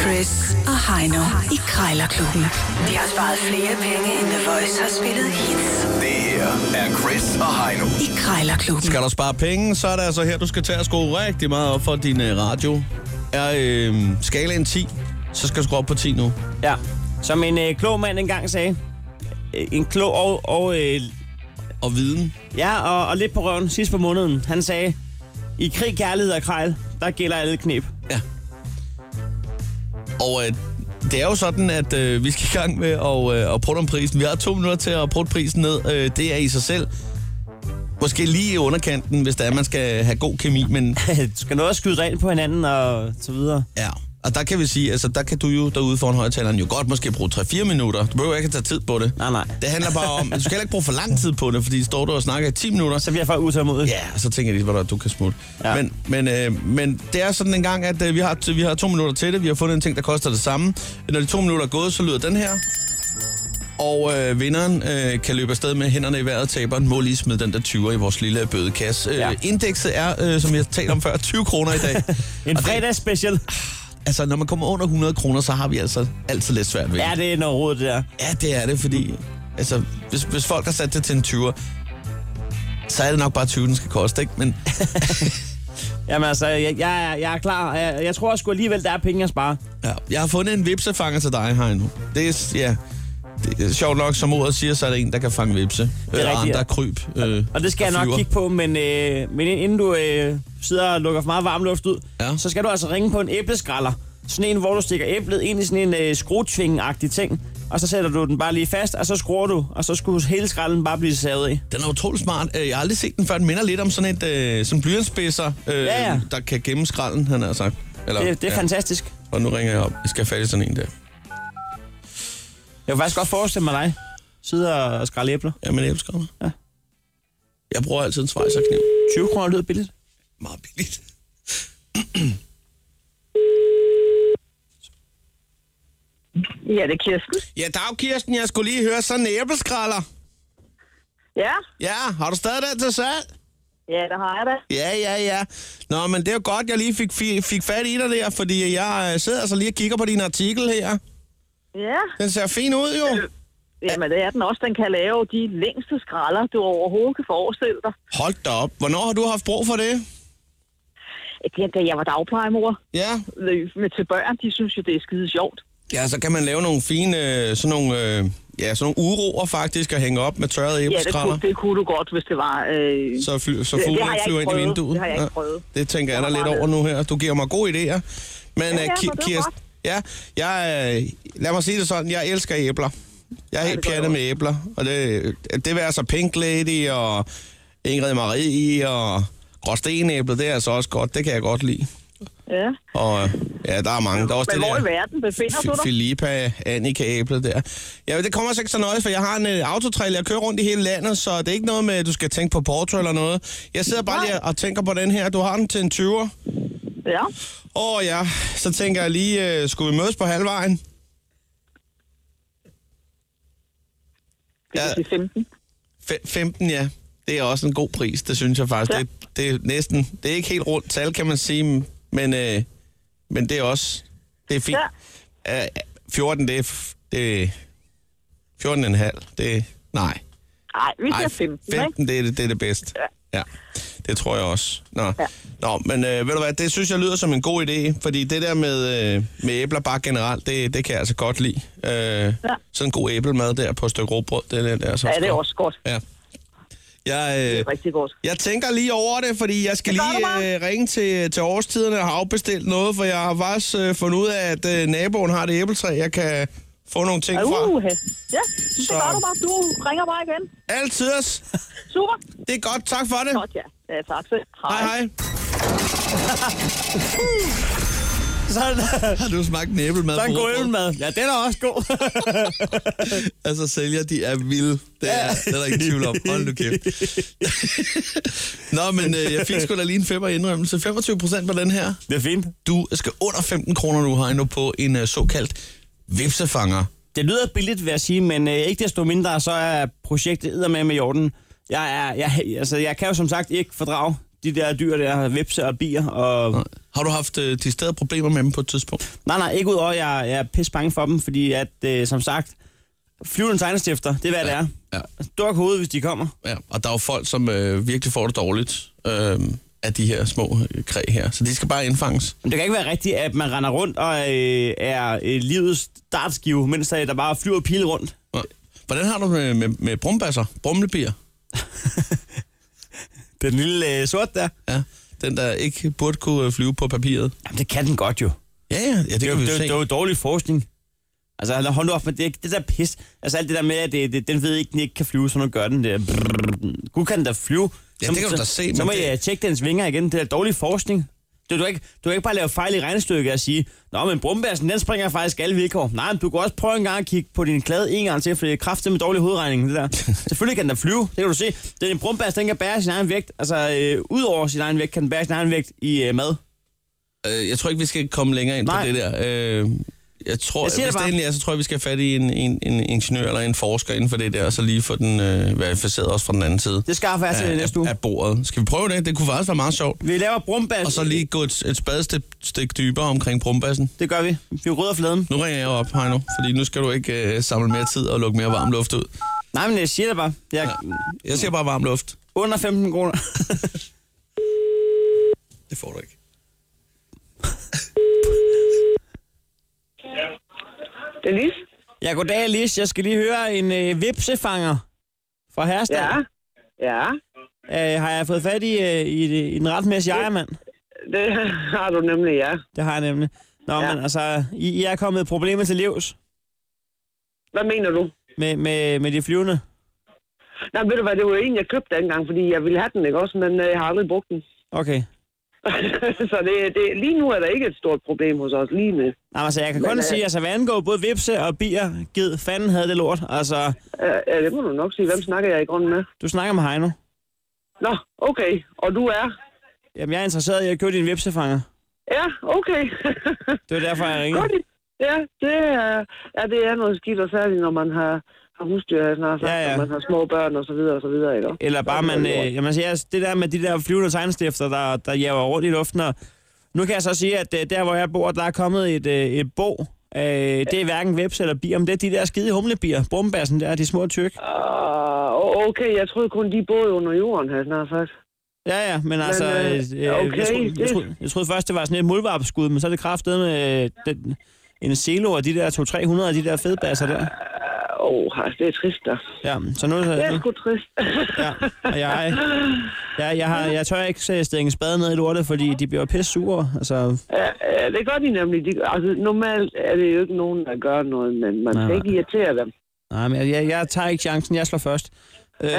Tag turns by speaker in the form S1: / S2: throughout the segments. S1: Chris og Heino i Krejlerklubben. De har sparet flere penge, end The Voice har spillet hits
S2: Det her er Chris og Heino.
S1: i Krejlerklubben.
S3: Skal du spare penge, så er det altså her, du skal tage og skrue rigtig meget op for din øh, radio. Er øh, skalaen 10, så skal du skrue op på 10 nu.
S4: Ja. Som en øh, klog mand engang sagde. Øh, En klog og, og øh,
S3: Og viden.
S4: ja, og, og lidt på røven sidst på måneden. Han sagde, i krig, kærlighed og krejl, der gælder alle knep.
S3: Ja. Og øh, det er jo sådan, at øh, vi skal i gang med at, øh, at prutte om prisen. Vi har to minutter til at prutte prisen ned. Øh, det er i sig selv. Måske lige i underkanten, hvis der er, man skal have god kemi, men
S4: du skal nå at skyde rent på hinanden og så videre.
S3: Ja, og der kan vi sige, altså der kan du jo derude foran højtaleren jo godt måske bruge 3-4 minutter. Du behøver ikke at tage tid på det.
S4: Nej, nej.
S3: Det handler bare om, du skal heller ikke bruge for lang tid på det, fordi står du og snakker i 10 minutter,
S4: Så
S3: så,
S4: bliver folk utålmodige.
S3: ja, så tænker de, hvordan du kan smutte. Ja.
S4: Ja.
S3: Men, men, øh, men det er sådan en gang, at øh, vi, har, vi har to minutter til det. Vi har fundet en ting, der koster det samme. Når de to minutter er gået, så lyder den her. Og øh, vinderen øh, kan løbe afsted med hænderne i vejret. Taberen må lige smide den der 20'er i vores lille bødekasse. Øh,
S4: Ja.
S3: Indekset er, øh, som vi har talt om før, 20 kroner i dag.
S4: En
S3: Og det-
S4: fredagsspecial.
S3: altså, når man kommer under 100 kroner, så har vi altså altid lidt svært ved
S4: Ja, det er noget råd, det der.
S3: Ja, det er det, fordi altså, hvis, hvis folk har sat det til en 20'er, så er det nok bare 20, den skal koste, ikke? Men
S4: Jamen altså, jeg, jeg, er- jeg er klar. Jeg, jeg tror sgu alligevel, der er penge at spare.
S3: ja, jeg har fundet en vipsefanger til dig, Heino. Det er, s- ja, det er sjovt nok, som ordet siger, så er det en, der kan fange vipse. Det
S4: rigtigt,
S3: og andre
S4: ja.
S3: kryb. Øh,
S4: Og det skal jeg nok
S3: flyver.
S4: kigge på, men, øh, men inden du øh, sidder og lukker for meget varm luft ud,
S3: Ja.
S4: ja. så skal du altså ringe på en æbleskræller. Sådan en, hvor du stikker æblet ind i sådan en øh, skruetvingen-agtig ting, og så sætter du den bare lige fast, og så skruer du, og så skulle hele skralden bare blive savet i.
S3: Den er utrolig smart. Øh, Jeg har aldrig set den før. Den minder lidt om sådan et øh, sådan blyantspidser, øh,
S4: Ja, ja.
S3: der kan gemme skralden, han har sagt. Eller,
S4: Det, det er ja. fantastisk.
S3: Og nu ringer jeg op. Jeg skal have fat i sådan en der.
S4: Jeg kunne faktisk godt forestille mig dig sidde og og skrælle æbler.
S3: Ja, men æbleskræller.
S4: Ja.
S3: Jeg bruger altid en svejserkniv.
S4: 20 kroner lyder billigt.
S3: Meget billigt.
S5: Ja, det er Kirsten.
S3: Ja, dag Kirsten, jeg skulle lige høre sådan en æbleskræller.
S5: Ja,
S3: Ja, har du stadig den til salg?
S5: ja, det har jeg da.
S3: Ja, ja, ja. Nå, men det er jo godt, jeg lige fik, fik, fik fat i dig der, fordi jeg øh, sidder altså lige og kigger på din artikel her.
S5: Ja,
S3: Den ser fin ud jo.
S5: jamen det er den også. Den kan lave de længste skralder, du overhovedet kan forestille dig.
S3: Hold da op. Hvornår har du haft brug for det?
S5: Ja, da jeg var dagplejemor
S3: Ja.
S5: øh, med til børn, de synes jo, det er skide sjovt.
S3: Ja, så kan man lave nogle fine, øh, sådan nogle, øh, ja, sådan nogle uroer faktisk, og hænge op med tørrede
S5: Ja, det
S3: æbleskræller.
S5: kunne, det kunne du godt, hvis det var... Øh,
S3: så, fly, så
S5: det- det
S3: fuglen
S5: har jeg ikke
S3: flyver ind i
S5: prøvet.
S3: vinduet.
S5: Det har jeg ikke
S3: Ja,
S5: prøvet.
S3: det tænker jeg,
S5: Jeg
S3: der
S5: har
S3: lidt
S5: bare
S3: over nu her. Du giver mig gode idéer. Men ja, Ki-
S5: ja, men det er
S3: Kirsten, ja, jeg, øh, lad mig sige det sådan, jeg elsker æbler. Jeg er helt
S5: det gør jeg
S3: pjattet med æbler. Og det, det vil altså Pink Lady og Ingrid Marie og Gråstenæblet, det er altså også godt. Det kan jeg godt lide.
S5: ja.
S3: Og øh, ja, der er mange. Der er også
S5: Men
S3: det
S5: hvor
S3: der-
S5: i verden befinder du dig?
S3: Filippa, Annika Æblet der. Ja, men det kommer altså ikke så nøje, for jeg har en uh, autotrail, jeg kører rundt i hele landet, så det er ikke noget med, at du skal tænke på Porto eller noget. Jeg sidder bare lige og tænker på den her. Du har den til en 20'er.
S5: Ja.
S3: Åh oh, ja, så tænker jeg lige, uh, skulle vi mødes på halvvejen?
S5: Det
S3: Ja.
S5: er ja. 15.
S3: Fe- 15, ja. Det er også en god pris, det synes jeg faktisk. Ja.
S5: Ja.
S3: Det, det er næsten, det er ikke helt rundt tal, kan man sige, men, øh, men det er også, det er fint. Ja. Øh, 14, det er, f- det er 14,5, det er, nej.
S5: Nej, vi
S3: Ej,
S5: siger 15, ikke?
S3: 15, det er det, det, er det bedste. Ja. ja. Det tror jeg også. Nå, ja. Nå men øh, ved du hvad, det synes jeg lyder som en god idé, fordi det der med, øh, med æbler bare generelt, det, det kan jeg altså godt lide. Øh, ja. Sådan en god æblemad der på et stykke råbrød, det, det, det er så
S5: Ja, det er
S3: godt.
S5: også godt.
S3: Ja. Jeg,
S5: Det
S3: øh,
S5: er rigtig godt.
S3: jeg tænker lige over det, fordi jeg skal
S5: Det gør du
S3: lige
S5: bare.
S3: øh, ringe til, til årstiderne og have afbestilt noget, for jeg har faktisk øh, fundet ud af, at øh, naboen har det æbletræ, jeg kan få nogle ting fra.
S5: Uh, ja,
S3: Så-
S5: det gør du bare. Du ringer bare igen.
S3: Altid.
S5: Super.
S3: Det er godt. Tak for det.
S5: Godt, ja. ja tak selv.
S3: Hej, hej.
S4: Sådan
S3: Har du smagt en æblemad?
S4: så en
S3: på
S4: god
S3: rugbrød?
S4: ølmad. Ja, den er også god.
S3: Altså, sælger, de er vilde. Det er, ja. det er der ikke tvivl om. Hold nu kæft. Nå, men øh, jeg fik sgu da lige en femmer i indrømmelse. 25 procent på den her.
S4: det er fint.
S3: Du skal under 15 kroner nu, Heino, på en øh, såkaldt vipsefanger.
S4: Det lyder billigt, vil jeg sige, men øh, ikke desto mindre, så er projektet med med jorden. Jeg, er, jeg, altså, jeg kan jo som sagt ikke fordrage de der dyr der, vepse og bier. Og... Nej.
S3: Har du haft øh, de steder problemer med dem på et tidspunkt?
S4: nej, nej, ikke udover, at jeg, jeg er pisse bange for dem, fordi at, øh, som sagt, flyvende tegnestifter, det er hvad ja. det er.
S3: Ja.
S4: Duk hovedet, hvis de kommer.
S3: Ja, og der er jo folk, som øh, virkelig får det dårligt øh, af de her små øh, kræ her. Så de skal bare indfanges.
S4: Men det kan ikke være rigtigt, at man render rundt og øh, er øh, livets dartskive, mens der, der bare flyver pile rundt.
S3: Ja. Hvordan har du det med, med, med brumbasser? Brumlebier?
S4: Den lille øh, sort der.
S3: Ja, den der ikke burde kunne øh, flyve på papiret.
S4: Jamen, det kan den godt jo.
S3: Ja, ja, ja det,
S4: Det,
S3: kan
S4: er jo-
S3: vi
S4: det,
S3: jo
S4: er jo-
S3: se.
S4: det, er jo dårlig forskning. Altså, hold- hold nu op med det, det der pis. Altså, alt det der med, at det, det, den ved ikke, den ikke kan flyve, så nu gør den det. Brrr. Gud kan den da flyve.
S3: Ja, det kan du da se,
S4: Så,
S3: men
S4: så må
S3: det-
S4: jeg tjekke dens vinger igen. Det er dårlig forskning. Du, du, kan ikke, du kan ikke bare lave fejl i regnestykket og sige, Nå, men brumbærsen, den springer faktisk alle vilkår. Nej, men du kan også prøve en gang at kigge på din klade en gang til, for det er kraftigt med dårlig hovedregning, det der. Selvfølgelig kan den da flyve, det kan du se. Den en brumbærs, den kan bære sin egen vægt. Altså, øh, ud over sin egen vægt, kan den bære sin egen vægt i øh, mad.
S3: Øh, jeg tror ikke, vi skal komme længere ind
S4: Nej.
S3: på det der. Øh, jeg tror,
S4: Jeg
S3: jeg
S4: siger det
S3: hvis det
S4: bare.
S3: endelig er, så tror jeg, vi skal have fat i en, en, en ingeniør eller en forsker inden for det der, og så lige få den øh, verificeret også fra den anden side
S4: Det skaffer jeg til
S3: af,
S4: næste uge.
S3: af, af bordet. Skal vi prøve det? Det kunne faktisk være meget sjovt.
S4: Vi laver brumbærs.
S3: Og så lige gå et, et spadestik stik dybere omkring brumbassen.
S4: Det gør vi. Vi rydder fladen.
S3: Nu ringer jeg op, Heino, fordi nu skal du ikke øh, samle mere tid og lukke mere varm luft ud.
S4: Nej, men jeg siger det bare. Jeg er
S3: Ja. Jeg siger bare varm luft.
S4: under 15 kroner.
S3: Det får du ikke.
S5: Det er lige.
S4: Ja, goddag, Lis. Jeg skal lige høre en øh, vipsefanger fra Herstad.
S5: Ja. Ja.
S4: Øh, har jeg fået fat i, øh, i, det- i den retmæssige ejermand?
S5: Det har du nemlig, ja.
S4: Det har jeg nemlig. Nå, ja.
S5: Ja.
S4: men altså, I, I er kommet problemer til livs
S5: Hvad mener du?
S4: med, med, med de flyvende.
S5: Nej, ved du hvad, det var en, jeg købte dengang, fordi jeg ville have den, ikke også? Men øh, jeg har aldrig brugt den.
S4: Okay.
S5: så det, det, lige nu er der ikke et stort problem hos os, lige nu.
S4: Nå, men altså, jeg kan
S5: Men,
S4: kun
S5: øh,
S4: sige, altså, hvad angår både vipse og bier, gid fanden havde det lort. Altså,
S5: Øh, ja, det må du nok sige. Hvem snakker jeg i grunden med?
S4: du snakker med Heino.
S5: Nå, okay. Og du er?
S4: Jamen, jeg er interesseret i at købe din vipsefanger.
S5: Ja, okay.
S4: Det var derfor, jeg ringede.
S5: Godt. Ja, det er, ja, det er noget skidt, og særligt når man har, har husdyr, jeg snart sagt,
S4: Ja,
S5: ja,
S4: ja.
S5: ja. man har små børn og så videre og så videre, ikke?
S4: Eller bare man, øh, jamen, altså, jeg- det der med de der flyvende tegnstifter, der, der jæver rundt i luften. Og nu kan jeg så sige, at øh, der, hvor jeg bor, der er kommet et, øh, et bog. Øh, det er hverken veps eller bier, men det er de der skide humlebier. Brumbassen der, de små tyrk.
S5: Uh, okay, jeg troede kun, de boede under jorden, har jeg snart sagt.
S4: Ja, ja, men altså,
S5: øh,
S4: øh, øh, jeg,
S5: okay,
S4: troede, jeg,
S5: det-
S4: troede, jeg troede først, det var sådan et muldvarpskud, men så er det kraftet med øh, den, en selo og de der 200-300 af de der fedbasser der.
S5: Åh, uh, oh, det er trist, da.
S4: Ja, så nu...
S5: Det er
S4: nu
S5: sgu trist.
S4: ja, og jeg, jeg, jeg, har, jeg tør ikke øh, stikke en spade ned i lortet, fordi de bliver pisse sure. Altså,
S5: Ja, ja, det gør de nemlig. De, altså, normalt er det jo ikke nogen, der gør noget, men man
S4: Nej.
S5: skal ikke irritere dem.
S4: Nej, men jeg, jeg, jeg tager ikke chancen. Jeg slår først. Øh,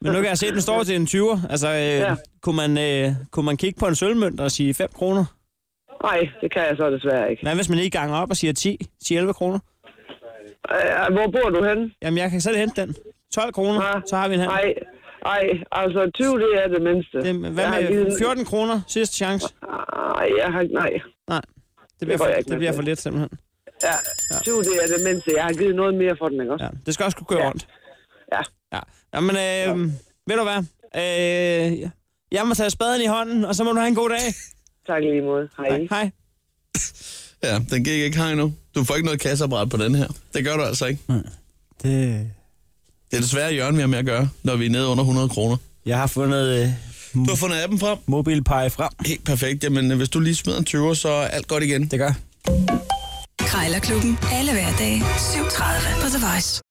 S4: men nu kan jeg se, at den står til en 20'er. Altså, øh, ja.
S5: Ja.
S4: kunne, man, øh, kunne man kigge på en sølvmønt og sige 5 kroner?
S5: Nej, det kan jeg så desværre ikke.
S4: Hvad hvis man lige ganger op og siger 10, 10-11 kroner?
S5: Øh, hvor bor du henne?
S4: Jamen, jeg kan selv hente den. 12 kroner,
S5: Ja.
S4: så har vi en handel.
S5: Nej, nej, altså 20, det er det mindste.
S4: Det,
S5: Jeg har
S4: hvad med
S5: givet-
S4: 14 kroner? Sidste chance?
S5: Ej, jeg har, nej.
S4: Nej, det bliver,
S5: går
S4: for,
S5: jeg ikke
S4: det
S5: med
S4: bliver
S5: til.
S4: for lidt simpelthen.
S5: Ja, 20, det er det mindste. Jeg har givet noget mere for den, ikke også?
S4: Ja, det skal også kunne køre
S5: Ja.
S4: rundt.
S5: Ja.
S4: Ja. Jamen, øh, ved du hvad? Øh, jeg må tage spaden i hånden, og så må du have en god dag.
S5: Tak i lige måde. Hej. Hej.
S4: Hej.
S3: Ja, den gik ikke, Heino. Du får ikke noget kasseapparat på den her. Det gør du altså ikke.
S4: Det...
S3: Det er desværre Jørgen, vi har med at gøre, når vi er nede under 100 kroner.
S4: Jeg har fundet øh,
S3: Du har fundet appen frem.
S4: mobilpege frem.
S3: Helt perfekt. Jamen, øh, hvis du lige smider en 20'er, så er alt godt igen.
S4: Det gør.
S1: Krejlerklubben. Alle hverdage. 7.30 på The Voice.